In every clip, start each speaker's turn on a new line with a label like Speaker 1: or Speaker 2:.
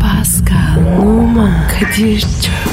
Speaker 1: Pascal, Oman, Kadir çok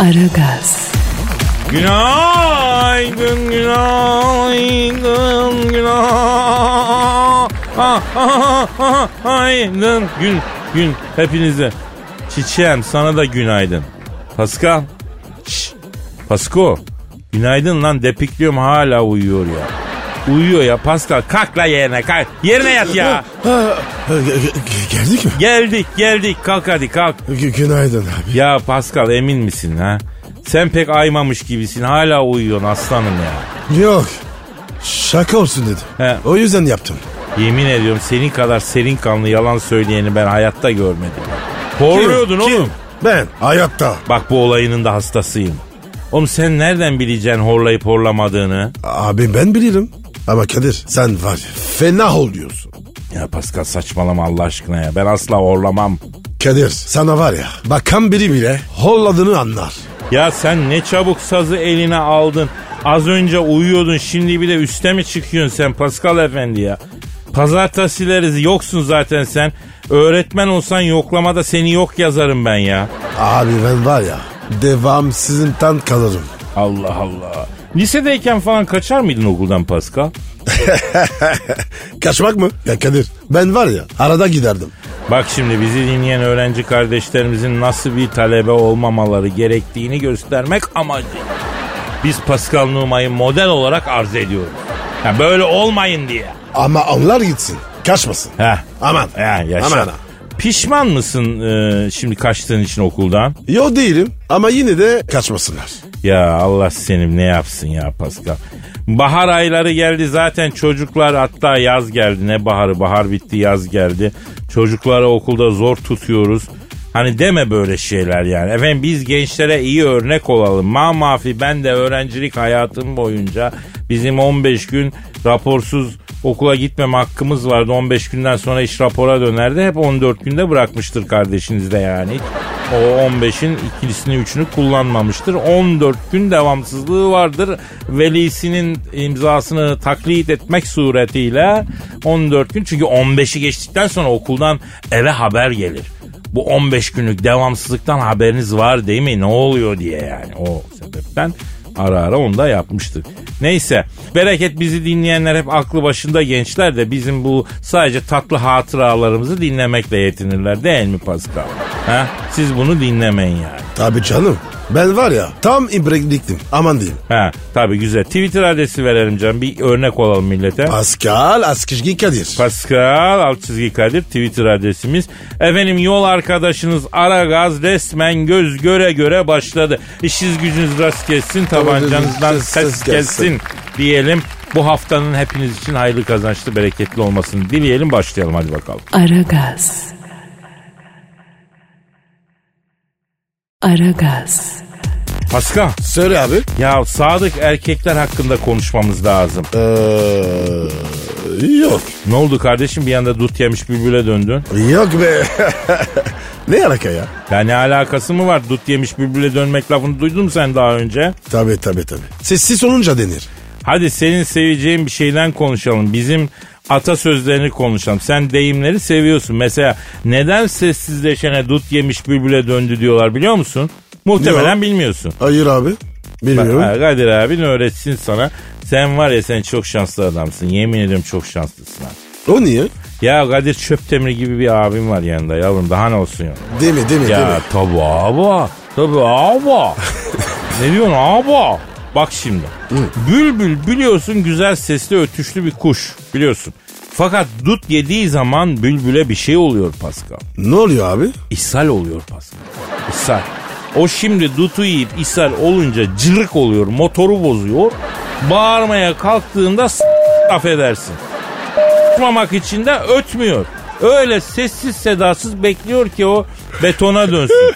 Speaker 1: Aragaz,
Speaker 2: Günaydın, günaydın, günaydın. Gün, gün hepinize. Çiçeğim sana da günaydın. Pascal. Şş, Pasko. Günaydın lan depikliyorum hala uyuyor ya. Uyuyor ya Pascal kalk la yerine kalk. Yerine yat ya.
Speaker 3: geldik mi?
Speaker 2: Geldik geldik kalk hadi kalk.
Speaker 3: Gü- günaydın abi.
Speaker 2: Ya Pascal emin misin ha? Sen pek aymamış gibisin hala uyuyorsun aslanım ya.
Speaker 3: Yok. Şaka olsun dedi.
Speaker 2: He.
Speaker 3: O yüzden yaptım.
Speaker 2: Yemin ediyorum senin kadar serin kanlı yalan söyleyeni ben hayatta görmedim. Horluyordun
Speaker 3: Kim?
Speaker 2: oğlum.
Speaker 3: Ben hayatta.
Speaker 2: Bak bu olayının da hastasıyım. Oğlum sen nereden bileceksin horlayıp horlamadığını?
Speaker 3: Abi ben bilirim. Ama Kadir sen var ya, fena oluyorsun.
Speaker 2: Ya Pascal saçmalama Allah aşkına ya. Ben asla horlamam.
Speaker 3: Kadir sana var ya bakan biri bile holladığını anlar.
Speaker 2: Ya sen ne çabuk sazı eline aldın. Az önce uyuyordun şimdi bir de üste mi çıkıyorsun sen Pascal efendi ya? Pazartesileri yoksun zaten sen. Öğretmen olsan yoklamada seni yok yazarım ben ya.
Speaker 3: Abi ben var ya devamsızlıktan kalırım.
Speaker 2: Allah Allah. Lisedeyken falan kaçar mıydın okuldan Pascal?
Speaker 3: Kaçmak mı? Ya Kadir ben var ya arada giderdim.
Speaker 2: Bak şimdi bizi dinleyen öğrenci kardeşlerimizin nasıl bir talebe olmamaları gerektiğini göstermek amacı. Biz Pascal Numa'yı model olarak arz ediyoruz. Ya böyle olmayın diye.
Speaker 3: Ama onlar gitsin kaçmasın.
Speaker 2: Heh.
Speaker 3: Aman.
Speaker 2: Heh, yaşa.
Speaker 3: Aman.
Speaker 2: Pişman mısın e, şimdi kaçtığın için okuldan?
Speaker 3: Yo değilim ama yine de kaçmasınlar.
Speaker 2: Ya Allah senin ne yapsın ya Pascal. Bahar ayları geldi zaten çocuklar hatta yaz geldi. Ne baharı bahar bitti yaz geldi. Çocukları okulda zor tutuyoruz. Hani deme böyle şeyler yani. Efendim biz gençlere iyi örnek olalım. Ma mafi ben de öğrencilik hayatım boyunca bizim 15 gün raporsuz okula gitmeme hakkımız vardı. 15 günden sonra iş rapora dönerdi. Hep 14 günde bırakmıştır kardeşiniz de yani. O 15'in ikilisini üçünü kullanmamıştır. 14 gün devamsızlığı vardır. Velisinin imzasını taklit etmek suretiyle 14 gün. Çünkü 15'i geçtikten sonra okuldan eve haber gelir. Bu 15 günlük devamsızlıktan haberiniz var değil mi? Ne oluyor diye yani. O sebepten ara ara onu da yapmıştık. Neyse bereket bizi dinleyenler hep aklı başında gençler de bizim bu sadece tatlı hatıralarımızı dinlemekle yetinirler değil mi Pascal? Ha? Siz bunu dinlemeyin yani.
Speaker 3: Tabii canım. Ben var ya tam ibrekliktim. Aman diyeyim.
Speaker 2: Ha, tabii güzel. Twitter adresi verelim canım. Bir örnek olalım millete.
Speaker 3: Pascal Askışgi Kadir.
Speaker 2: Pascal alt çizgi Kadir Twitter adresimiz. Efendim yol arkadaşınız Aragaz resmen göz göre göre başladı. İşiniz gücünüz rast gelsin tabancanızdan
Speaker 3: Ses- ses
Speaker 2: ses gelsin diyelim. Bu haftanın hepiniz için hayırlı kazançlı bereketli olmasını dileyelim başlayalım hadi bakalım.
Speaker 1: Aragaz. Aragaz,
Speaker 2: Pascal
Speaker 3: Söyle abi.
Speaker 2: ya sadık erkekler hakkında konuşmamız lazım.
Speaker 3: Ee, yok.
Speaker 2: Ne oldu kardeşim bir anda dut yemiş bülbüle döndün.
Speaker 3: Yok be. ne alaka ya?
Speaker 2: Ya ne alakası mı var dut yemiş bülbüle dönmek lafını duydun mu sen daha önce?
Speaker 3: Tabii tabii tabii. Sessiz olunca denir.
Speaker 2: Hadi senin seveceğin bir şeyden konuşalım. Bizim atasözlerini konuşalım. Sen deyimleri seviyorsun. Mesela neden sessizleşene dut yemiş bülbüle döndü diyorlar biliyor musun? Muhtemelen
Speaker 3: Yok.
Speaker 2: bilmiyorsun.
Speaker 3: Hayır abi. Bilmiyorum.
Speaker 2: Ha, Kadir abin öğretsin sana. Sen var ya sen çok şanslı adamsın. Yemin ediyorum çok şanslısın. ha.
Speaker 3: O niye?
Speaker 2: Ya Kadir Çöptemir gibi bir abim var yanında yavrum. Daha ne olsun ya?
Speaker 3: Değil mi değil mi değil
Speaker 2: Ya
Speaker 3: mi?
Speaker 2: tabi abi. Tabi abi. ne diyorsun abi? Bak şimdi. Bülbül biliyorsun güzel sesli ötüşlü bir kuş biliyorsun. Fakat dut yediği zaman bülbüle bir şey oluyor Pascal.
Speaker 3: Ne oluyor abi?
Speaker 2: İshal oluyor Pascal. İshal. O şimdi dutu yiyip ishal olunca cırık oluyor. Motoru bozuyor. Bağırmaya kalktığında s- affedersin. S**mamak için de ötmüyor. Öyle sessiz sedasız bekliyor ki o betona dönsün.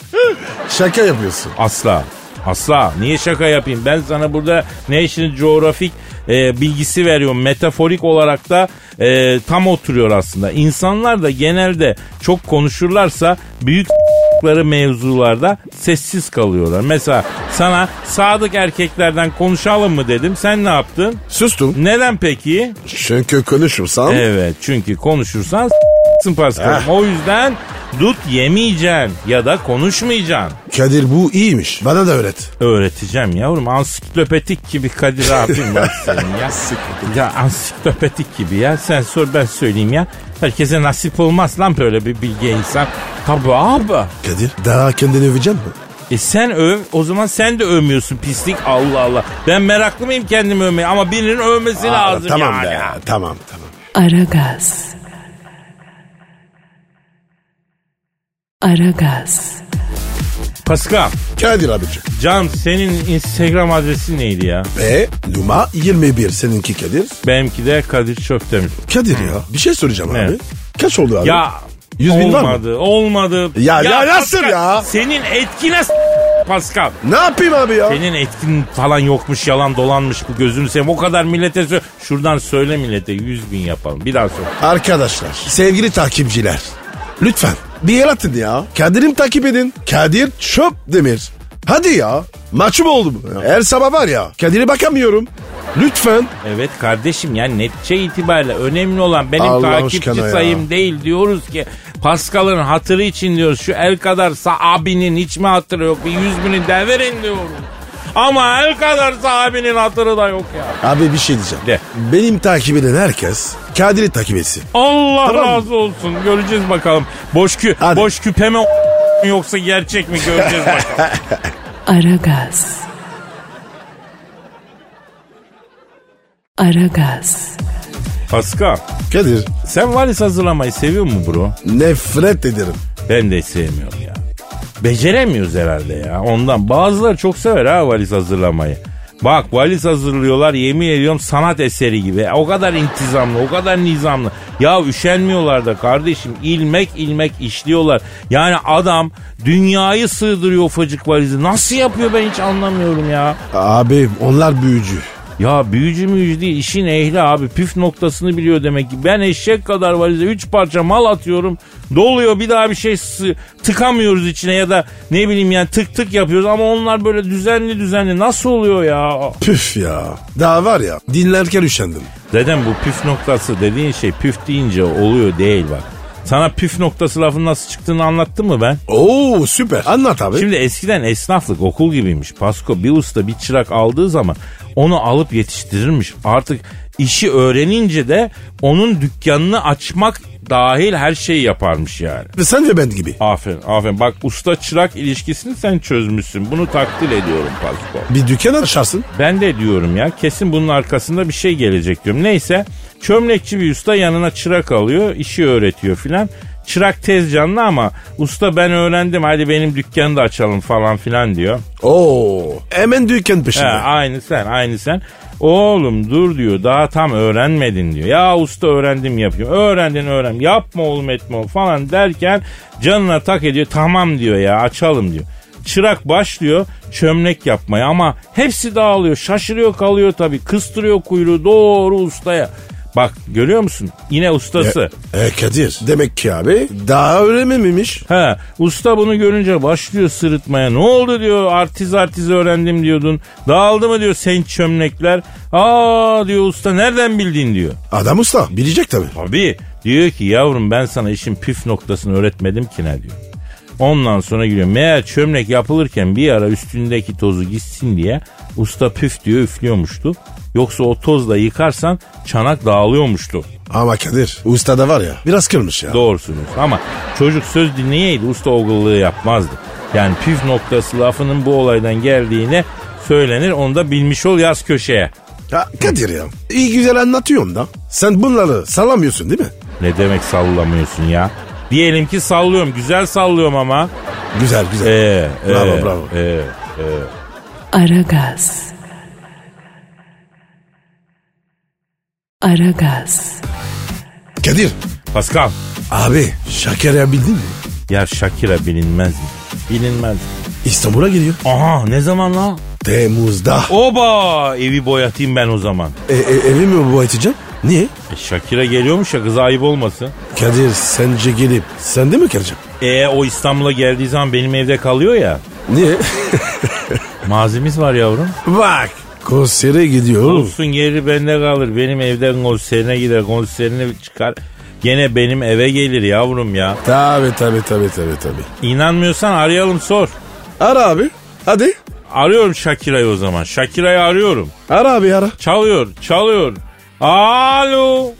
Speaker 3: Şaka yapıyorsun.
Speaker 2: Asla. Asla. Niye şaka yapayım? Ben sana burada National Geographic e, bilgisi veriyorum. Metaforik olarak da e, tam oturuyor aslında. İnsanlar da genelde çok konuşurlarsa büyük s**ları mevzularda sessiz kalıyorlar. Mesela sana sadık erkeklerden konuşalım mı dedim. Sen ne yaptın?
Speaker 3: Sustum.
Speaker 2: Neden peki?
Speaker 3: Çünkü konuşursam
Speaker 2: Evet çünkü konuşursan s**sın Paskal'ım. O yüzden dut yemeyeceksin ya da konuşmayacaksın.
Speaker 3: Kadir bu iyiymiş. Bana da öğret.
Speaker 2: Öğreteceğim yavrum. Ansiklopedik gibi Kadir abim var senin ya. ya ansiklopedik gibi ya. Sen sor ben söyleyeyim ya. Herkese nasip olmaz lan böyle bir bilge insan. Tabi abi.
Speaker 3: Kadir daha kendini öveceğim mi?
Speaker 2: E sen öv o zaman sen de övmüyorsun pislik Allah Allah. Ben meraklı mıyım kendimi övmeye ama birinin övmesi lazım
Speaker 3: tamam
Speaker 2: yani.
Speaker 3: be. Tamam tamam.
Speaker 1: Aragaz. Aragaz.
Speaker 2: Pascal,
Speaker 3: Kadir abicim.
Speaker 2: canım senin Instagram adresi neydi ya?
Speaker 3: Ve numara 21 seninki Kadir.
Speaker 2: Benimki de Kadir Çöptemir.
Speaker 3: Kadir ya bir şey soracağım
Speaker 2: Ne?
Speaker 3: abi. Kaç oldu abi?
Speaker 2: Ya
Speaker 3: 100 bin var mı?
Speaker 2: olmadı, olmadı.
Speaker 3: Ya- ya nasıl ya?
Speaker 2: Senin etkine s- Pascal.
Speaker 3: Ne yapayım abi ya?
Speaker 2: Senin etkin falan yokmuş yalan dolanmış bu gözünü seveyim. O kadar millete sö- Şuradan söyle millete 100 bin yapalım. Bir daha söyle.
Speaker 3: Arkadaşlar, sevgili takipçiler. Lütfen bir el atın ya. Kadir'im takip edin. Kadir çöp demir. Hadi ya. Maçım oldu bu. Her sabah var ya. Kadir'e bakamıyorum. Lütfen.
Speaker 2: Evet kardeşim yani netice itibariyle önemli olan benim
Speaker 3: Allah
Speaker 2: takipçi
Speaker 3: aşkına ya.
Speaker 2: sayım değil diyoruz ki Pascal'ın hatırı için diyoruz şu el kadarsa abinin hiç mi hatırı yok bir yüz bini devirin diyoruz. Ama el kadarsa abinin hatırı da yok ya.
Speaker 3: Abi bir şey diyeceğim.
Speaker 2: De.
Speaker 3: Benim takip eden herkes Kadir'i takip etsin.
Speaker 2: Allah
Speaker 3: Tamam mı?
Speaker 2: razı olsun. Göreceğiz bakalım. Boş kü
Speaker 3: Hadi.
Speaker 2: boş küpe mi yoksa gerçek mi göreceğiz bakalım.
Speaker 1: Aragaz. Aragaz.
Speaker 2: Pascal,
Speaker 3: Kadir
Speaker 2: sen valiz hazırlamayı seviyor musun bro?
Speaker 3: nefret ederim.
Speaker 2: Ben de sevmiyorum ya. Beceremiyoruz herhalde ya. Ondan bazıları çok sever ha valiz hazırlamayı. Bak valiz hazırlıyorlar yemin ediyorum sanat eseri gibi. O kadar intizamlı, o kadar nizamlı. Ya üşenmiyorlar da kardeşim ilmek ilmek işliyorlar. Yani adam dünyayı sığdırıyor ufacık valizi. Nasıl yapıyor ben hiç anlamıyorum ya.
Speaker 3: Abi onlar büyücü.
Speaker 2: Ya büyücü müyücü değil işin ehli abi püf noktasını biliyor demek ki. Ben eşek kadar valize 3 parça mal atıyorum doluyor bir daha bir şey sı- tıkamıyoruz içine ya da ne bileyim yani tık tık yapıyoruz ama onlar böyle düzenli düzenli nasıl oluyor ya?
Speaker 3: Püf ya. Daha var ya dinlerken üşendim.
Speaker 2: Zaten bu püf noktası dediğin şey püf deyince oluyor değil bak. Sana püf noktası lafın nasıl çıktığını anlattım mı ben?
Speaker 3: Oo süper. Anlat abi.
Speaker 2: Şimdi eskiden esnaflık okul gibiymiş. Pasko bir usta bir çırak aldığı zaman onu alıp yetiştirirmiş. Artık işi öğrenince de onun dükkanını açmak dahil her şeyi yaparmış yani.
Speaker 3: Sen ve ben gibi.
Speaker 2: Aferin aferin. Bak usta çırak ilişkisini sen çözmüşsün. Bunu takdir ediyorum Pasko.
Speaker 3: Bir dükkan açarsın.
Speaker 2: Ben de diyorum ya kesin bunun arkasında bir şey gelecek diyorum. Neyse çömlekçi bir usta yanına çırak alıyor işi öğretiyor filan. Çırak tez canlı ama usta ben öğrendim hadi benim dükkanı da açalım falan filan diyor.
Speaker 3: Oo. Hemen dükkan
Speaker 2: He,
Speaker 3: peşinde.
Speaker 2: aynı sen aynı sen. Oğlum dur diyor daha tam öğrenmedin diyor. Ya usta öğrendim yapıyor. Öğrendin öğren. Yapma oğlum etme oğlum falan derken canına tak ediyor. Tamam diyor ya açalım diyor. Çırak başlıyor çömlek yapmaya ama hepsi dağılıyor. Şaşırıyor kalıyor tabii. Kıstırıyor kuyruğu doğru ustaya. Bak görüyor musun? Yine ustası.
Speaker 3: E, Kadir demek ki abi daha öğrenememiş.
Speaker 2: He, usta bunu görünce başlıyor sırıtmaya. Ne oldu diyor artiz artiz öğrendim diyordun. Dağıldı mı diyor sen çömlekler. Aa diyor usta nereden bildin diyor.
Speaker 3: Adam usta bilecek tabii.
Speaker 2: Abi diyor ki yavrum ben sana işin püf noktasını öğretmedim ki ne diyor. Ondan sonra giriyor. Meğer çömlek yapılırken bir ara üstündeki tozu gitsin diye usta püf diyor üflüyormuştu. Yoksa o tozla yıkarsan çanak dağılıyormuştu.
Speaker 3: Ama Kadir usta da var ya biraz kırmış ya.
Speaker 2: Doğrusunuz ama çocuk söz dinleyeydi usta ogulluğu yapmazdı. Yani püf noktası lafının bu olaydan geldiğine söylenir onu da bilmiş ol yaz köşeye.
Speaker 3: Ya Kadir ya iyi güzel anlatıyorsun da. Sen bunları salamıyorsun değil mi?
Speaker 2: Ne demek sallamıyorsun ya? Diyelim ki sallıyorum güzel sallıyorum ama.
Speaker 3: Güzel güzel.
Speaker 2: Ee,
Speaker 3: Bravo,
Speaker 2: ee,
Speaker 3: bravo.
Speaker 2: ee.
Speaker 1: Aragaz. Aragaz.
Speaker 3: Kadir
Speaker 2: Pascal
Speaker 3: Abi şeker yabildin mi?
Speaker 2: Ya Shakira bilinmez mi? Bilinmez.
Speaker 3: İstanbul'a geliyor.
Speaker 2: Aha ne zaman la?
Speaker 3: Temmuz'da.
Speaker 2: Oba evi boyatayım ben o zaman.
Speaker 3: E, e, evi mi bu edeceğim? Niye?
Speaker 2: E, Shakira geliyormuş ya kıza ayıp olmasın.
Speaker 3: Kadir sence gelip sende mi kalacağım?
Speaker 2: E o İstanbul'a geldiği zaman benim evde kalıyor ya.
Speaker 3: Niye?
Speaker 2: Mazimiz var yavrum.
Speaker 3: Bak konsere gidiyoruz.
Speaker 2: Olsun geri bende kalır. Benim evden konserine gider. Konserine çıkar. Gene benim eve gelir yavrum ya.
Speaker 3: Tabi tabi tabi tabi tabi.
Speaker 2: İnanmıyorsan arayalım sor.
Speaker 3: Ara abi. Hadi.
Speaker 2: Arıyorum Shakira'yı o zaman. Shakira'yı arıyorum.
Speaker 3: Ara abi ara.
Speaker 2: Çalıyor, çalıyor. Alo.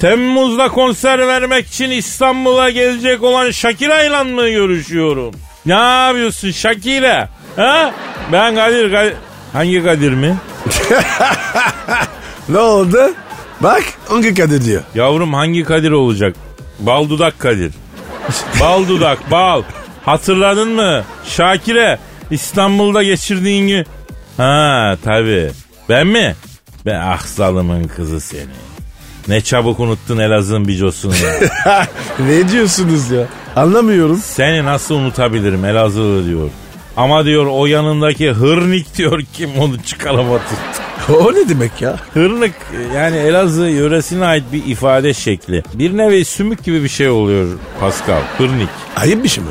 Speaker 2: Temmuz'da konser vermek için İstanbul'a gelecek olan Shakira ile mi görüşüyorum? Ne yapıyorsun Shakira? Ha? Ben Kadir, Kadir. Hangi Kadir mi?
Speaker 3: Ne oldu? Bak hangi Kadir diyor.
Speaker 2: Yavrum hangi Kadir olacak? Bal dudak Kadir. Bal dudak, bal. Hatırladın mı? Şakire, İstanbul'da geçirdiğin gün. Ha tabii. Ben mi? Ben ah zalımın kızı seni. Ne çabuk unuttun Elazığ'ın bicosunu. ya.
Speaker 3: ne diyorsunuz ya? Anlamıyorum.
Speaker 2: Seni nasıl unutabilirim Elazığlı diyor. Ama diyor o yanındaki hırnik diyor kim onu çıkaramadı.
Speaker 3: O ne demek ya?
Speaker 2: Hırlık yani Elazığ yöresine ait bir ifade şekli. Bir nevi sümük gibi bir şey oluyor Pascal. Hırnik.
Speaker 3: Ayıp bir şey mi?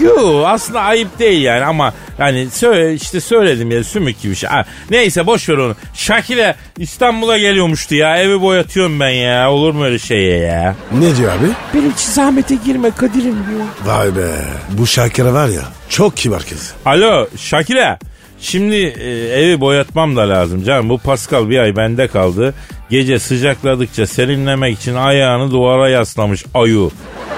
Speaker 2: Yo aslında ayıp değil yani ama yani söyle, işte söyledim ya sümük gibi bir şey. Ha, neyse boş ver onu. Şakile İstanbul'a geliyormuştu ya evi boyatıyorum ben ya olur mu öyle şey ya?
Speaker 3: Ne diyor abi?
Speaker 2: Benim için zahmete girme Kadir'im diyor.
Speaker 3: Vay be. Bu Şakir'e var ya çok kibar kız.
Speaker 2: Alo Şakile. Şimdi e, evi boyatmam da lazım canım. Bu Pascal bir ay bende kaldı. Gece sıcakladıkça serinlemek için ayağını duvara yaslamış ayu.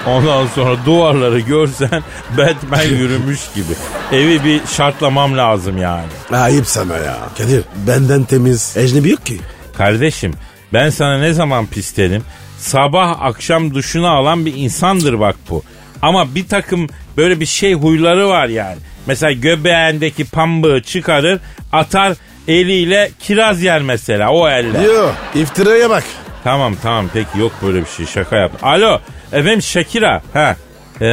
Speaker 2: Ondan sonra duvarları görsen Batman yürümüş gibi. Evi bir şartlamam lazım yani.
Speaker 3: Ayıp sana ya. Kadir benden temiz ecnebi yok ki.
Speaker 2: Kardeşim ben sana ne zaman pis dedim? Sabah akşam duşunu alan bir insandır bak bu. Ama bir takım böyle bir şey huyları var yani. Mesela göbeğindeki pambığı çıkarır atar eliyle kiraz yer mesela o elle.
Speaker 3: Yo iftiraya bak.
Speaker 2: Tamam tamam peki yok böyle bir şey şaka yap. Alo efendim Shakira. Ha. Ee,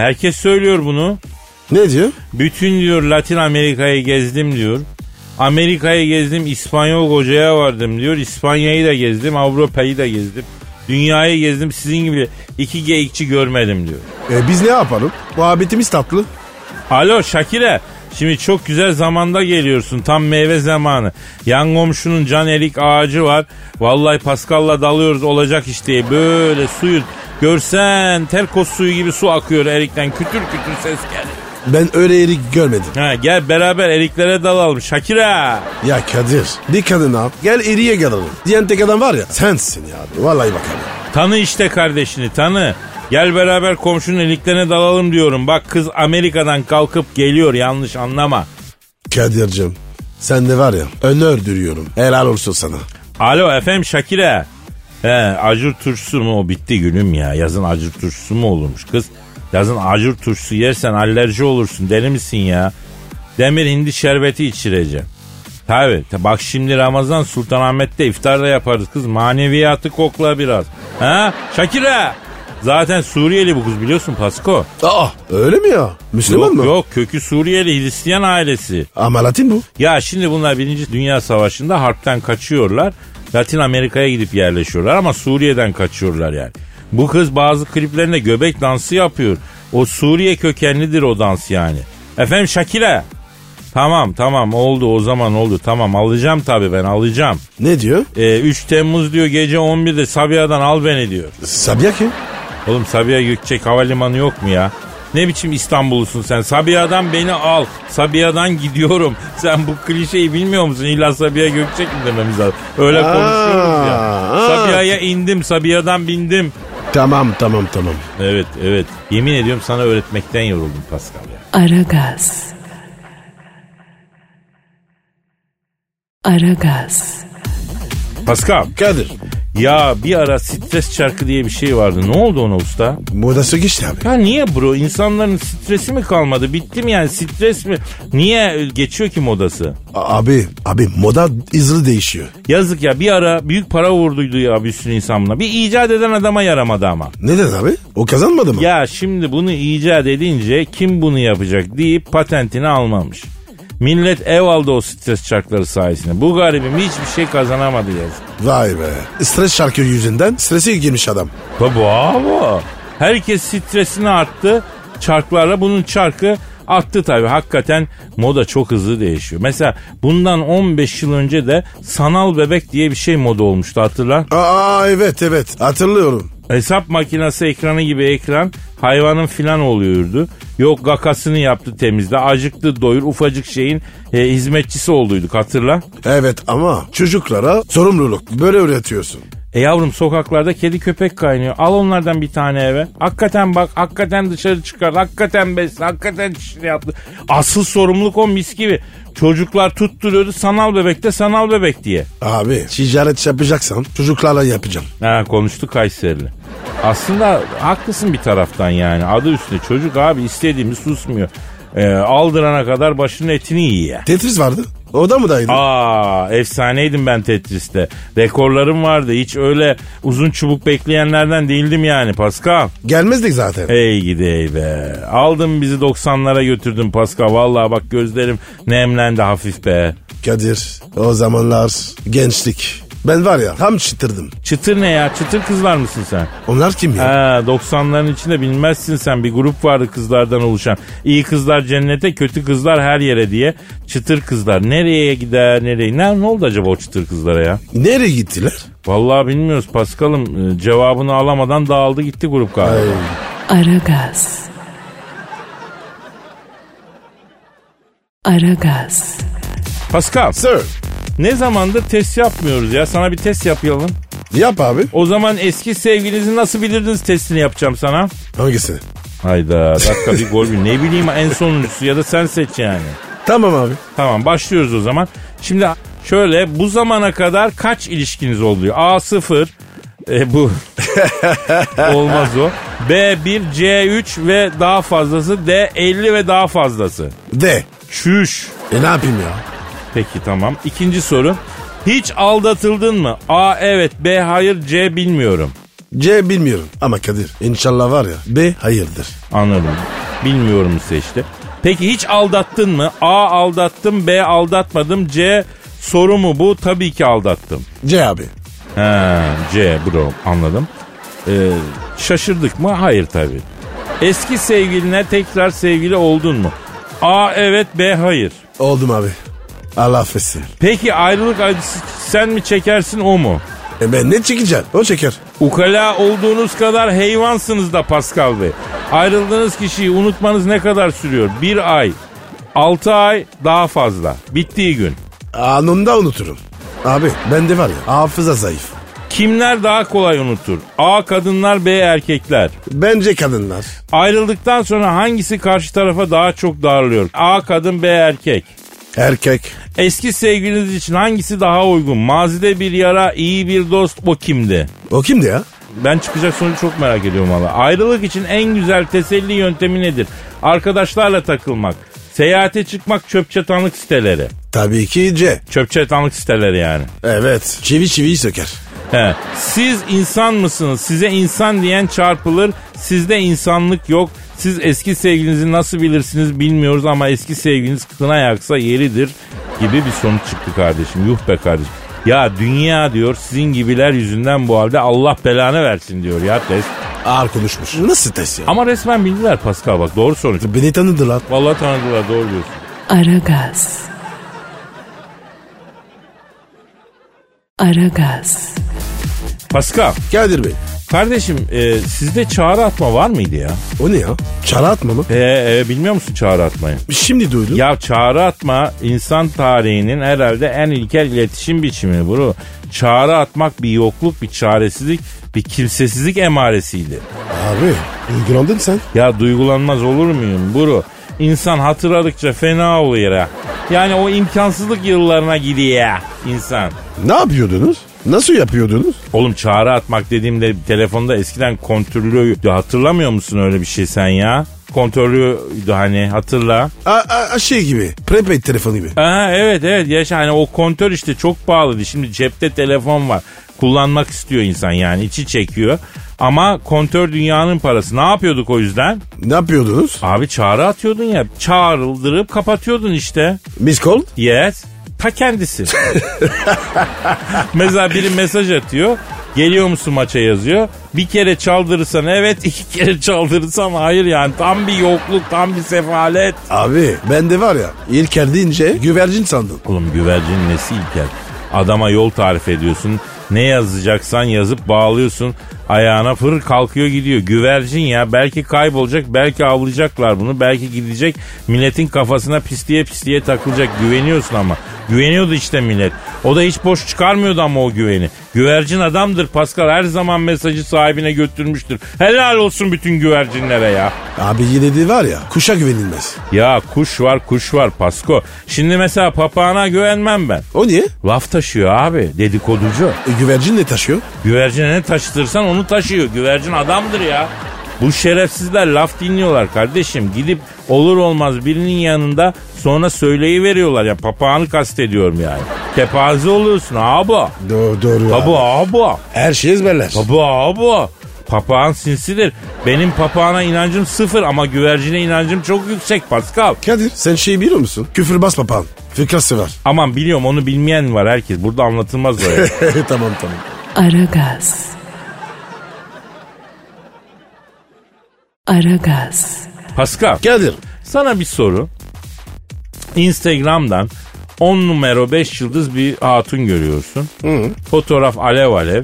Speaker 2: herkes söylüyor bunu.
Speaker 3: Ne diyor?
Speaker 2: Bütün diyor Latin Amerika'yı gezdim diyor. Amerika'yı gezdim, İspanyol kocaya vardım diyor. İspanya'yı da gezdim, Avrupa'yı da gezdim. Dünyayı gezdim, sizin gibi iki geyikçi görmedim diyor.
Speaker 3: E, biz ne yapalım? Muhabbetimiz tatlı.
Speaker 2: Alo Şakire, şimdi çok güzel zamanda geliyorsun, tam meyve zamanı. Yan komşunun can erik ağacı var. Vallahi Pascal'la dalıyoruz olacak iş diye. Böyle suyu görsen terkos suyu gibi su akıyor erikten. Kütür kütür ses geliyor.
Speaker 3: Ben öyle erik görmedim.
Speaker 2: Ha, gel beraber eriklere dalalım Şakira.
Speaker 3: Ya Kadir bir kadına gel eriye gelelim. Diyen tek adam var ya sensin ya. abi. Vallahi bak abi.
Speaker 2: Tanı işte kardeşini tanı. Gel beraber komşunun eliklerine dalalım diyorum. Bak kız Amerika'dan kalkıp geliyor yanlış anlama.
Speaker 3: Kadir'cim sen de var ya önü ördürüyorum. Helal olsun sana.
Speaker 2: Alo efendim Şakire. He acır turşusu mu o bitti gülüm ya. Yazın acır turşusu mu olurmuş kız? Yazın acır turşusu yersen alerji olursun deli misin ya? Demir hindi şerbeti içireceğim. Tabi bak şimdi Ramazan Sultanahmet'te iftarda yaparız kız. Maneviyatı kokla biraz. Ha Şakire. Zaten Suriyeli bu kız biliyorsun Pasko.
Speaker 3: Aa öyle mi ya? Müslüman
Speaker 2: Yok
Speaker 3: mı?
Speaker 2: yok kökü Suriyeli Hristiyan ailesi.
Speaker 3: Ama Latin bu.
Speaker 2: Ya şimdi bunlar Birinci Dünya Savaşı'nda harpten kaçıyorlar. Latin Amerika'ya gidip yerleşiyorlar ama Suriye'den kaçıyorlar yani. Bu kız bazı kliplerinde göbek dansı yapıyor. O Suriye kökenlidir o dans yani. Efendim Şakile. Tamam tamam oldu o zaman oldu tamam alacağım tabii ben alacağım.
Speaker 3: Ne diyor?
Speaker 2: Ee, 3 Temmuz diyor gece 11'de Sabiha'dan al beni diyor.
Speaker 3: Sabiha kim?
Speaker 2: Oğlum Sabiha Gökçek havalimanı yok mu ya? Ne biçim İstanbullusun sen? Sabiha'dan beni al. Sabiha'dan gidiyorum. Sen bu klişeyi bilmiyor musun? İlla Sabiha Gökçek mi dememiz lazım? Öyle
Speaker 3: Aa,
Speaker 2: konuşuyoruz ya.
Speaker 3: aa.
Speaker 2: Sabiha'ya indim. Sabiha'dan bindim.
Speaker 3: Tamam tamam tamam.
Speaker 2: Evet evet. Yemin ediyorum sana öğretmekten yoruldum Pascal ya.
Speaker 1: Aragaz. Aragaz.
Speaker 2: Pascal
Speaker 3: Kadir.
Speaker 2: Ya bir ara stres çarkı diye bir şey vardı. Ne oldu ona usta?
Speaker 3: Modası geçti abi.
Speaker 2: Ya niye bro? İnsanların stresi mi kalmadı? Bitti mi yani stres mi? Niye geçiyor ki modası?
Speaker 3: A- abi abi moda hızlı değişiyor.
Speaker 2: Yazık ya bir ara büyük para vurduydu ya bir sürü insan buna. Bir icat eden adama yaramadı ama.
Speaker 3: Neden abi? O kazanmadı mı?
Speaker 2: Ya şimdi bunu icat edince kim bunu yapacak deyip patentini almamış. Millet ev aldı o stres çarkları sayesinde. Bu garibim hiçbir şey kazanamadı yazık.
Speaker 3: Vay be. Stres şarkı yüzünden strese girmiş adam.
Speaker 2: Tabi abi. Herkes stresini arttı. Çarklarla bunun çarkı attı tabi. Hakikaten moda çok hızlı değişiyor. Mesela bundan 15 yıl önce de sanal bebek diye bir şey moda olmuştu hatırla.
Speaker 3: Aa evet evet hatırlıyorum.
Speaker 2: Hesap makinesi ekranı gibi ekran hayvanın filan oluyordu. Yok gakasını yaptı temizle, acıktı doyur, ufacık şeyin e, hizmetçisi olduyduk hatırla.
Speaker 3: Evet ama çocuklara sorumluluk böyle öğretiyorsun.
Speaker 2: E yavrum sokaklarda kedi köpek kaynıyor. Al onlardan bir tane eve. Hakikaten bak, hakikaten dışarı çıkar, hakikaten besle, hakikaten şey yaptı. Asıl sorumluluk o mis gibi. Çocuklar tutturuyordu sanal bebekte sanal bebek diye.
Speaker 3: Abi ticaret yapacaksan çocuklarla yapacağım.
Speaker 2: Ha konuştu Kayserili. Aslında haklısın bir taraftan yani. Adı üstüne çocuk abi istediğimiz susmuyor. Ee, aldırana kadar başının etini yiyor.
Speaker 3: Tetris vardı. O da mı daydı?
Speaker 2: Aa efsaneydim ben Tetris'te. Rekorlarım vardı. Hiç öyle uzun çubuk bekleyenlerden değildim yani Pascal.
Speaker 3: Gelmezdik zaten.
Speaker 2: Ey gidi ey be. Aldın bizi 90'lara götürdün Pascal. Vallahi bak gözlerim nemlendi hafif be.
Speaker 3: Kadir o zamanlar gençlik. Ben var ya tam çıtırdım.
Speaker 2: Çıtır ne ya? Çıtır kızlar mısın sen?
Speaker 3: Onlar kim ya?
Speaker 2: Ha 90'ların içinde bilmezsin sen bir grup vardı kızlardan oluşan. İyi kızlar cennete, kötü kızlar her yere diye. Çıtır kızlar nereye gider, nereye? Ne, ne oldu acaba o çıtır kızlara ya?
Speaker 3: Nereye gittiler?
Speaker 2: Vallahi bilmiyoruz Paskal'ım. Ee, Cevabını alamadan dağıldı gitti grup galiba.
Speaker 1: Aragaz. Aragaz.
Speaker 2: Paskal
Speaker 3: Sir
Speaker 2: ne zamandır test yapmıyoruz ya? Sana bir test yapalım.
Speaker 3: yap abi.
Speaker 2: O zaman eski sevgilinizi nasıl bilirdiniz testini yapacağım sana.
Speaker 3: Hangisini?
Speaker 2: Hayda dakika bir gol bir. Ne bileyim en sonuncusu ya da sen seç yani.
Speaker 3: Tamam abi.
Speaker 2: Tamam başlıyoruz o zaman. Şimdi şöyle bu zamana kadar kaç ilişkiniz oluyor? A 0 e, bu olmaz o. B 1 C 3 ve daha fazlası D 50 ve daha fazlası.
Speaker 3: De.
Speaker 2: Şüş.
Speaker 3: E ne yapayım ya?
Speaker 2: Peki tamam. İkinci soru. Hiç aldatıldın mı? A evet, B hayır, C bilmiyorum.
Speaker 3: C bilmiyorum. Ama Kadir inşallah var ya B hayırdır.
Speaker 2: Anladım. Bilmiyorum seçti. Peki hiç aldattın mı? A aldattım, B aldatmadım, C soru mu bu? Tabii ki aldattım.
Speaker 3: C abi.
Speaker 2: He, C bro anladım. Ee, şaşırdık mı? Hayır tabii. Eski sevgiline tekrar sevgili oldun mu? A evet B hayır.
Speaker 3: Oldum abi. Allah affetsin.
Speaker 2: Peki ayrılık acısı sen mi çekersin o mu?
Speaker 3: E ben ne çekeceğim? O çeker.
Speaker 2: Ukala olduğunuz kadar heyvansınız da Pascal Bey. Ayrıldığınız kişiyi unutmanız ne kadar sürüyor? Bir ay, altı ay daha fazla. Bittiği gün.
Speaker 3: Anında unuturum. Abi bende var ya hafıza zayıf.
Speaker 2: Kimler daha kolay unutur? A kadınlar, B erkekler.
Speaker 3: Bence kadınlar.
Speaker 2: Ayrıldıktan sonra hangisi karşı tarafa daha çok darlıyor? A kadın, B erkek.
Speaker 3: Erkek.
Speaker 2: Eski sevgiliniz için hangisi daha uygun? Mazide bir yara, iyi bir dost o kimdi?
Speaker 3: O kimdi ya?
Speaker 2: Ben çıkacak sonucu çok merak ediyorum valla. Ayrılık için en güzel teselli yöntemi nedir? Arkadaşlarla takılmak, seyahate çıkmak, çöp çatanlık siteleri.
Speaker 3: Tabii ki C.
Speaker 2: Çöp çatanlık siteleri yani.
Speaker 3: Evet. Çivi çiviyi söker.
Speaker 2: He. Siz insan mısınız? Size insan diyen çarpılır. Sizde insanlık yok. Siz eski sevgilinizi nasıl bilirsiniz bilmiyoruz ama eski sevgiliniz kına yaksa yeridir gibi bir sonuç çıktı kardeşim. Yuh be kardeşim. Ya dünya diyor sizin gibiler yüzünden bu halde Allah belanı versin diyor ya test.
Speaker 3: Ağır konuşmuş. Nasıl test ya?
Speaker 2: Ama resmen bildiler Pascal bak doğru sonuç.
Speaker 3: Beni tanıdılar.
Speaker 2: Vallahi tanıdılar doğru diyorsun.
Speaker 1: Aragaz. Aragaz.
Speaker 2: Pascal
Speaker 3: Kadir Bey.
Speaker 2: kardeşim e, sizde çağrı atma var mıydı ya?
Speaker 3: O ne ya? Çara atma mı?
Speaker 2: E, e, bilmiyor musun çağrı atmayı?
Speaker 3: Şimdi duydum.
Speaker 2: Ya çağrı atma insan tarihinin herhalde en ilkel iletişim biçimi bro. Çağrı atmak bir yokluk, bir çaresizlik, bir kimsesizlik emaresiydi.
Speaker 3: Abi uygulandın sen.
Speaker 2: Ya duygulanmaz olur muyum bro? İnsan hatırladıkça fena oluyor ha. Yani o imkansızlık yıllarına gidiyor ya insan.
Speaker 3: Ne yapıyordunuz? Nasıl yapıyordunuz?
Speaker 2: Oğlum çağrı atmak dediğimde telefonda eskiden kontürlüydü. Hatırlamıyor musun öyle bir şey sen ya? Kontörlüydü hani hatırla.
Speaker 3: A, a- a- şey gibi. Prepaid telefonu gibi.
Speaker 2: Aha, evet evet yaşa hani o kontör işte çok pahalıydı. Şimdi cepte telefon var. Kullanmak istiyor insan yani içi çekiyor. Ama kontör dünyanın parası. Ne yapıyorduk o yüzden?
Speaker 3: Ne yapıyordunuz?
Speaker 2: Abi çağrı atıyordun ya. Çağrıldırıp kapatıyordun işte.
Speaker 3: Miss call?
Speaker 2: Yes. Ta kendisi. Mesela biri mesaj atıyor. Geliyor musun maça yazıyor. Bir kere çaldırırsan evet, iki kere çaldırırsan hayır yani. Tam bir yokluk, tam bir sefalet.
Speaker 3: Abi ben de var ya İlker deyince güvercin sandım.
Speaker 2: Oğlum güvercin nesi İlker? Adama yol tarif ediyorsun. Ne yazacaksan yazıp bağlıyorsun. Ayağına fır kalkıyor gidiyor. Güvercin ya belki kaybolacak, belki avlayacaklar bunu, belki gidecek. Milletin kafasına pisliğe pisliğe takılacak. Güveniyorsun ama. Güveniyordu işte millet. O da hiç boş çıkarmıyordu ama o güveni. Güvercin adamdır Pascal her zaman mesajı sahibine götürmüştür. Helal olsun bütün güvercinlere ya.
Speaker 3: Abi yine de var ya kuşa güvenilmez.
Speaker 2: Ya kuş var kuş var Pasko. Şimdi mesela papağana güvenmem ben.
Speaker 3: O niye?
Speaker 2: Laf taşıyor abi dedikoducu.
Speaker 3: E, güvercin ne taşıyor?
Speaker 2: Güvercine ne taşıtırsan onu taşıyor. Güvercin adamdır ya. Bu şerefsizler laf dinliyorlar kardeşim. Gidip olur olmaz birinin yanında sonra söyleyi veriyorlar ya. Papağanı kastediyorum yani. Kepaze oluyorsun abi.
Speaker 3: Doğru, doğru
Speaker 2: Tabu abi.
Speaker 3: Her şey ezberler.
Speaker 2: Tabu abi. Papağan sinsidir. Benim papağana inancım sıfır ama güvercine inancım çok yüksek Pascal.
Speaker 3: Kadir sen şeyi biliyor musun? Küfür bas papağan. Fıkrası var.
Speaker 2: Aman biliyorum onu bilmeyen var herkes. Burada anlatılmaz o ya.
Speaker 3: tamam tamam.
Speaker 1: Aragaz. Aragaz.
Speaker 2: Pascal.
Speaker 3: Kadir.
Speaker 2: Sana bir soru. Instagram'dan 10 numara 5 yıldız bir hatun görüyorsun. Fotoğraf alev alev.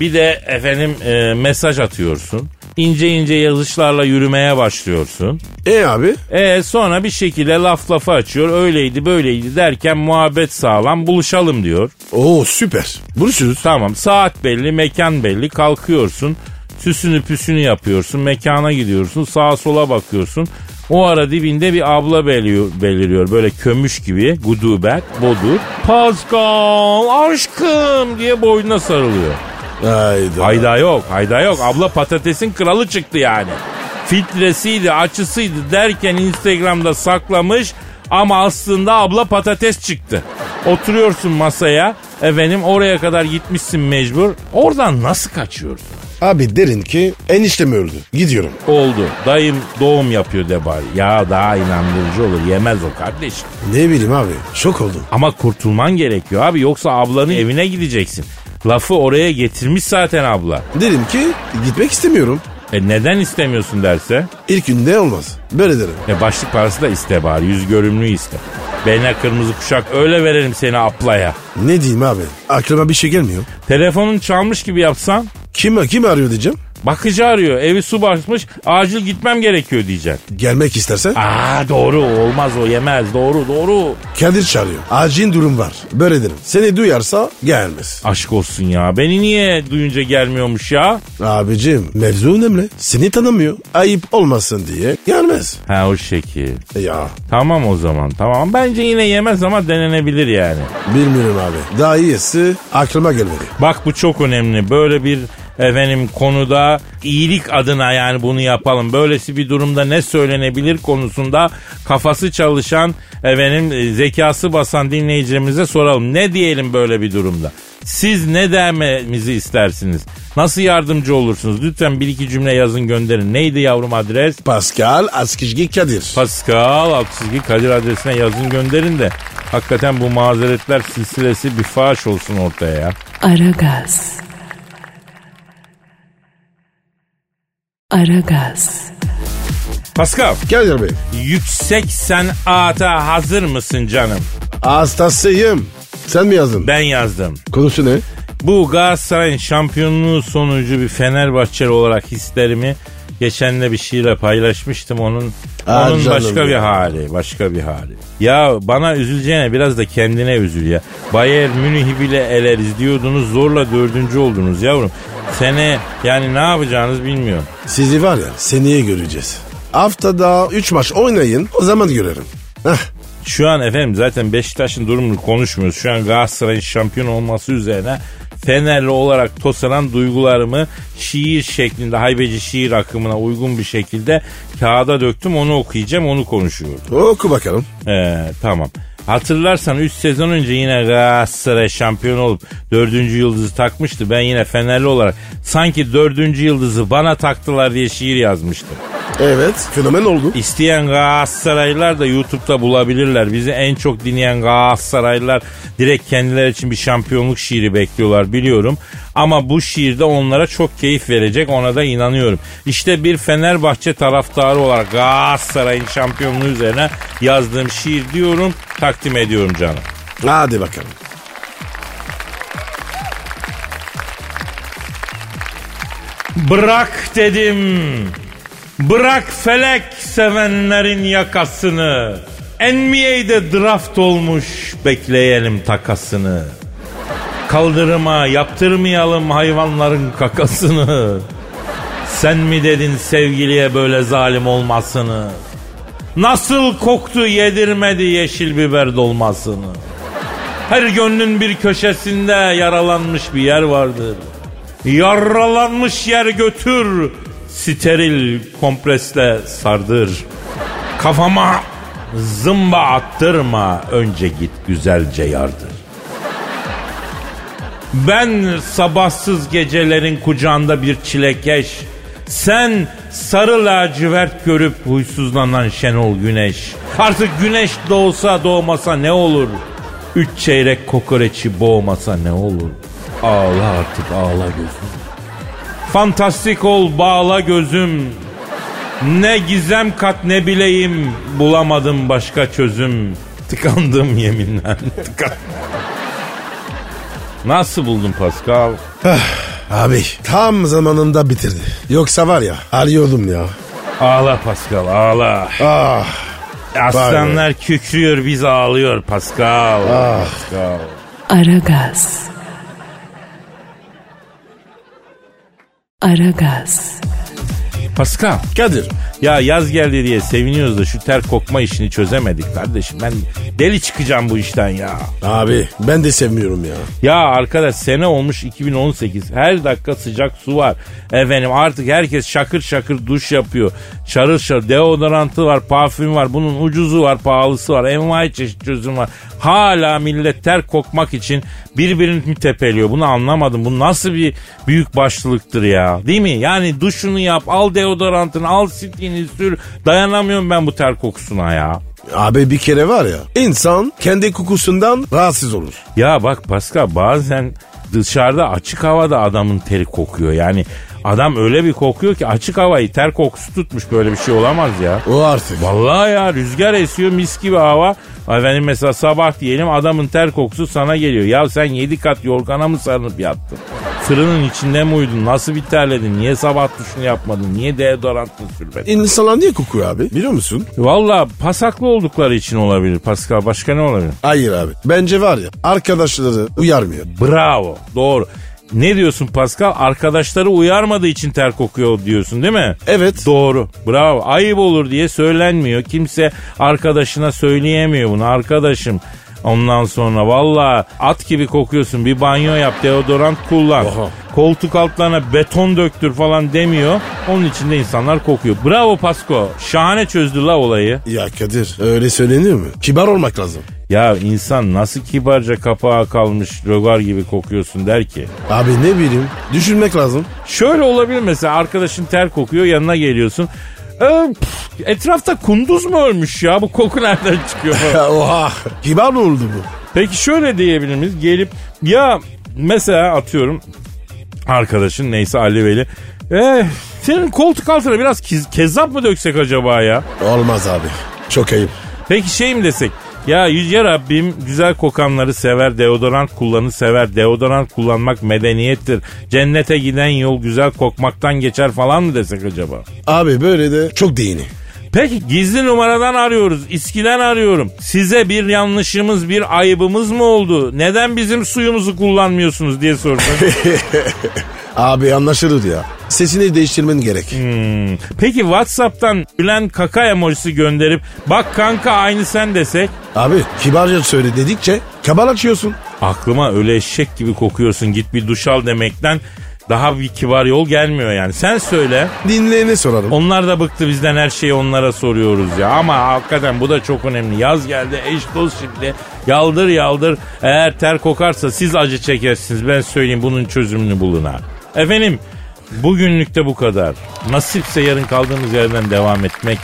Speaker 2: Bir de efendim e, mesaj atıyorsun. İnce ince yazışlarla yürümeye başlıyorsun.
Speaker 3: E abi?
Speaker 2: E sonra bir şekilde laf lafa açıyor. Öyleydi böyleydi derken muhabbet sağlam buluşalım diyor.
Speaker 3: Oo süper. Buluşuruz.
Speaker 2: Tamam saat belli mekan belli kalkıyorsun süsünü püsünü yapıyorsun mekana gidiyorsun sağa sola bakıyorsun. O ara dibinde bir abla beliyor, beliriyor böyle kömüş gibi gudubet bodur. Pascal aşkım diye boynuna sarılıyor.
Speaker 3: Hayda.
Speaker 2: Hayda yok hayda yok abla patatesin kralı çıktı yani. Filtresiydi açısıydı derken Instagram'da saklamış ama aslında abla patates çıktı. Oturuyorsun masaya efendim oraya kadar gitmişsin mecbur. Oradan nasıl kaçıyorsun?
Speaker 3: Abi derin ki eniştem öldü. Gidiyorum.
Speaker 2: Oldu. Dayım doğum yapıyor de bari. Ya daha inandırıcı olur. Yemez o kardeşim.
Speaker 3: Ne bileyim abi. Şok oldum.
Speaker 2: Ama kurtulman gerekiyor abi. Yoksa ablanın evine gideceksin. Lafı oraya getirmiş zaten abla.
Speaker 3: Dedim ki gitmek istemiyorum.
Speaker 2: E neden istemiyorsun derse?
Speaker 3: İlk günde olmaz. Böyle derim.
Speaker 2: E başlık parası da iste bari. Yüz görümlü iste. Beline kırmızı kuşak öyle verelim seni aplaya.
Speaker 3: Ne diyeyim abi? Aklıma bir şey gelmiyor.
Speaker 2: Telefonun çalmış gibi yapsan
Speaker 3: Kim, kim arıyor diyeceğim.
Speaker 2: bakıcı arıyor. Evi su basmış acil gitmem gerekiyor diyeceksin.
Speaker 3: Gelmek istersen
Speaker 2: Aa doğru olmaz o yemez doğru doğru.
Speaker 3: Kadir çağırıyor. Acil durum var. Böyle derim. Seni duyarsa gelmez.
Speaker 2: Aşk olsun ya beni niye duyunca gelmiyormuş ya?
Speaker 3: Abicim mevzu önemli. Seni tanımıyor. Ayıp olmasın diye gelmez. E
Speaker 2: Ha o şekil.
Speaker 3: Ya
Speaker 2: Tamam o zaman tamam. Bence yine yemez ama denenebilir yani.
Speaker 3: bilmiyorum abi. Daha iyisi aklıma gelmedi.
Speaker 2: Bak bu çok önemli. Böyle bir efendim konuda iyilik adına yani bunu yapalım. Böylesi bir durumda ne söylenebilir konusunda kafası çalışan efendim e, zekası basan dinleyicimize soralım. Ne diyelim böyle bir durumda? Siz ne dememizi istersiniz? Nasıl yardımcı olursunuz? Lütfen bir iki cümle yazın gönderin. Neydi yavrum adres?
Speaker 3: Pascal Askizgi Kadir.
Speaker 2: Pascal alt çizgi Kadir adresine yazın gönderin de hakikaten bu mazeretler silsilesi bir faş olsun ortaya ya.
Speaker 1: Aragaz. Aragaz.
Speaker 2: Pascal
Speaker 3: Kadir Bey.
Speaker 2: yüksek sanata hazır mısın canım?
Speaker 3: Hastasıyım. Sen mi yazdın?
Speaker 2: Ben yazdım.
Speaker 3: Konusu ne?
Speaker 2: Bu Galatasaray'ın şampiyonluğu sonucu bir Fenerbahçeli olarak hislerimi geçenle bir şiirle paylaşmıştım onun
Speaker 3: Ah
Speaker 2: onun
Speaker 3: canım
Speaker 2: başka
Speaker 3: ya.
Speaker 2: bir hali başka bir hali. Ya bana üzüleceğine biraz da kendine üzül ya. Bayern Münih'i bile eleriz diyordunuz zorla dördüncü oldunuz yavrum. Sene yani ne yapacağınız bilmiyorum.
Speaker 3: Sizi var ya seneye göreceğiz. Haftada 3 maç oynayın o zaman görelim. Heh,
Speaker 2: Şu an efendim zaten Beşiktaş'ın durumunu konuşmuyoruz. Şu an Galatasaray'ın şampiyon olması üzerine Fenerli olarak tosaran duygularımı şiir şeklinde haybeci şiir akımına uygun bir şekilde kağıda döktüm onu okuyacağım onu konuşuyorum.
Speaker 3: Oku bakalım.
Speaker 2: Ee, tamam. Hatırlarsan 3 sezon önce yine Galatasaray şampiyon olup 4. yıldızı takmıştı. Ben yine Fenerli olarak sanki 4. yıldızı bana taktılar diye şiir yazmıştım.
Speaker 3: Evet. Fenomen oldu.
Speaker 2: İsteyen Galatasaraylılar da YouTube'da bulabilirler. Bizi en çok dinleyen Galatasaraylılar direkt kendileri için bir şampiyonluk şiiri bekliyorlar biliyorum. Ama bu şiir de onlara çok keyif verecek ona da inanıyorum. İşte bir Fenerbahçe taraftarı olarak Galatasaray'ın şampiyonluğu üzerine yazdığım şiir diyorum takdim ediyorum canım.
Speaker 3: Hadi bakalım.
Speaker 2: Bırak dedim. Bırak felek sevenlerin yakasını. NBA'de draft olmuş bekleyelim takasını. Kaldırıma yaptırmayalım hayvanların kakasını. Sen mi dedin sevgiliye böyle zalim olmasını? Nasıl koktu yedirmedi yeşil biber dolmasını? Her gönlün bir köşesinde yaralanmış bir yer vardır. Yaralanmış yer götür, steril kompresle sardır. Kafama zımba attırma, önce git güzelce yardır. Ben sabahsız gecelerin kucağında bir çilekeş, sen sarı lacivert görüp huysuzlanan Şenol Güneş. Artık güneş doğsa doğmasa ne olur? Üç çeyrek kokoreçi boğmasa ne olur? Ağla artık ağla gözüm. Fantastik ol bağla gözüm. Ne gizem kat ne bileyim bulamadım başka çözüm. Tıkandım yeminle. Tıkandım. Nasıl buldun Pascal?
Speaker 3: Abi tam zamanında bitirdi. Yoksa var ya arıyordum ya.
Speaker 2: Ağla Pascal ağla.
Speaker 3: Ah
Speaker 2: Aslanlar kükrüyor biz ağlıyor Pascal. Pascal.
Speaker 1: Aragaz. Aragaz.
Speaker 2: Pascal.
Speaker 3: Kadir.
Speaker 2: Ya yaz geldi diye seviniyoruz da şu ter kokma işini çözemedik kardeşim. Ben deli çıkacağım bu işten ya.
Speaker 3: Abi ben de sevmiyorum ya.
Speaker 2: Ya arkadaş sene olmuş 2018. Her dakika sıcak su var. Efendim artık herkes şakır şakır duş yapıyor. Şarıl şarıl deodorantı var, parfüm var. Bunun ucuzu var, pahalısı var. Envai çeşit çözüm var. Hala millet ter kokmak için birbirini tepeliyor. Bunu anlamadım. Bu nasıl bir büyük başlılıktır ya. Değil mi? Yani duşunu yap, al deodorantını, al stilini sür. Dayanamıyorum ben bu ter kokusuna ya.
Speaker 3: Abi bir kere var ya insan kendi kokusundan rahatsız olur.
Speaker 2: Ya bak Pascal bazen dışarıda açık havada adamın teri kokuyor. Yani adam öyle bir kokuyor ki açık havayı ter kokusu tutmuş böyle bir şey olamaz ya.
Speaker 3: O artık.
Speaker 2: Vallahi ya rüzgar esiyor mis gibi hava. Efendim mesela sabah diyelim adamın ter kokusu sana geliyor. Ya sen yedi kat yorgana mı sarılıp yattın? Fırının içinde mi uyudun? Nasıl bir terledin? Niye sabah duşunu yapmadın? Niye deodorantını sürmedin?
Speaker 3: İnsanlar niye kokuyor abi biliyor musun?
Speaker 2: Valla pasaklı oldukları için olabilir Pascal. Başka ne olabilir?
Speaker 3: Hayır abi. Bence var ya arkadaşları uyarmıyor.
Speaker 2: Bravo. Doğru. Ne diyorsun Pascal? Arkadaşları uyarmadığı için ter kokuyor diyorsun değil mi?
Speaker 3: Evet.
Speaker 2: Doğru. Bravo. Ayıp olur diye söylenmiyor. Kimse arkadaşına söyleyemiyor bunu. Arkadaşım Ondan sonra valla at gibi kokuyorsun bir banyo yap deodorant kullan.
Speaker 3: Oha.
Speaker 2: Koltuk altlarına beton döktür falan demiyor. Onun için de insanlar kokuyor. Bravo Pasko. Şahane çözdü la olayı.
Speaker 3: Ya Kadir öyle söyleniyor mu? Kibar olmak lazım.
Speaker 2: Ya insan nasıl kibarca kapağa kalmış rögar gibi kokuyorsun der ki.
Speaker 3: Abi ne bileyim düşünmek lazım.
Speaker 2: Şöyle olabilir mesela arkadaşın ter kokuyor yanına geliyorsun. Ee, püf, etrafta kunduz mu ölmüş ya bu koku nereden çıkıyor?
Speaker 3: Ya oha kibar mı oldu bu?
Speaker 2: Peki şöyle diyebilir miyiz gelip ya mesela atıyorum arkadaşın neyse Ali Veli. "Eh, senin koltuk altına biraz kiz- kezzap mı döksek acaba ya?
Speaker 3: Olmaz abi çok ayıp.
Speaker 2: Peki şey mi desek? Ya Yüce Rabbim güzel kokanları sever, deodorant kullanı sever. Deodorant kullanmak medeniyettir. Cennete giden yol güzel kokmaktan geçer falan mı desek acaba?
Speaker 3: Abi böyle de çok değini.
Speaker 2: Peki gizli numaradan arıyoruz. İSKİ'den arıyorum. Size bir yanlışımız, bir ayıbımız mı oldu? Neden bizim suyumuzu kullanmıyorsunuz diye sordum.
Speaker 3: Abi anlaşılır ya. Sesini değiştirmen gerek.
Speaker 2: Peki WhatsApp'tan Bülent Kaka emojisi gönderip bak kanka aynı sen desek
Speaker 3: Abi kibarca söyle dedikçe kabal açıyorsun.
Speaker 2: aklıma öyle eşek gibi kokuyorsun git bir duş al demekten daha bir kibar yol gelmiyor yani. Sen söyle.
Speaker 3: Dinleyene sorarım.
Speaker 2: Onlar da bıktı bizden her şeyi onlara soruyoruz ya. Ama hakikaten bu da çok önemli. Yaz geldi eş dost şimdi. Yaldır yaldır. Eğer ter kokarsa siz acı çekersiniz. Ben söyleyeyim bunun çözümünü bulun ha. Efendim bugünlük de bu kadar. Nasipse yarın kaldığımız yerden devam etmek.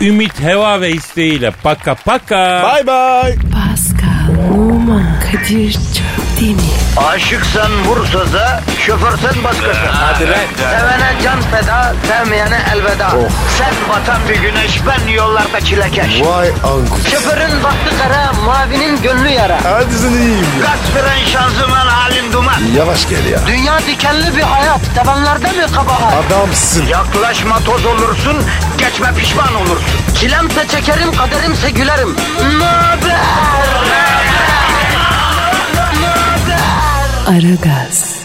Speaker 2: Ümit, heva ve isteğiyle paka paka.
Speaker 3: Bay bay.
Speaker 1: Pascal, Oman, Kadir çok değil mi?
Speaker 4: Aşıksan vursa da, şoförsen başkasın. Hadi
Speaker 2: lan.
Speaker 4: Sevene can feda, sevmeyene elveda. Sen batan bir güneş, ben yollarda çilekeş.
Speaker 3: Vay anku.
Speaker 4: Şoförün baktı kara, mavinin gönlü yara.
Speaker 3: Hadi sen iyiyim ya.
Speaker 4: Kasperen şanzıman halin duman.
Speaker 3: Yavaş gel ya.
Speaker 4: Dünya dikenli bir hayat, sevenlerde mi kabahar?
Speaker 3: Adamsın.
Speaker 4: Yaklaşma toz olursun, geçme pişman olursun. Çilemse çekerim, kaderimse gülerim. Möber!
Speaker 1: Aragaz.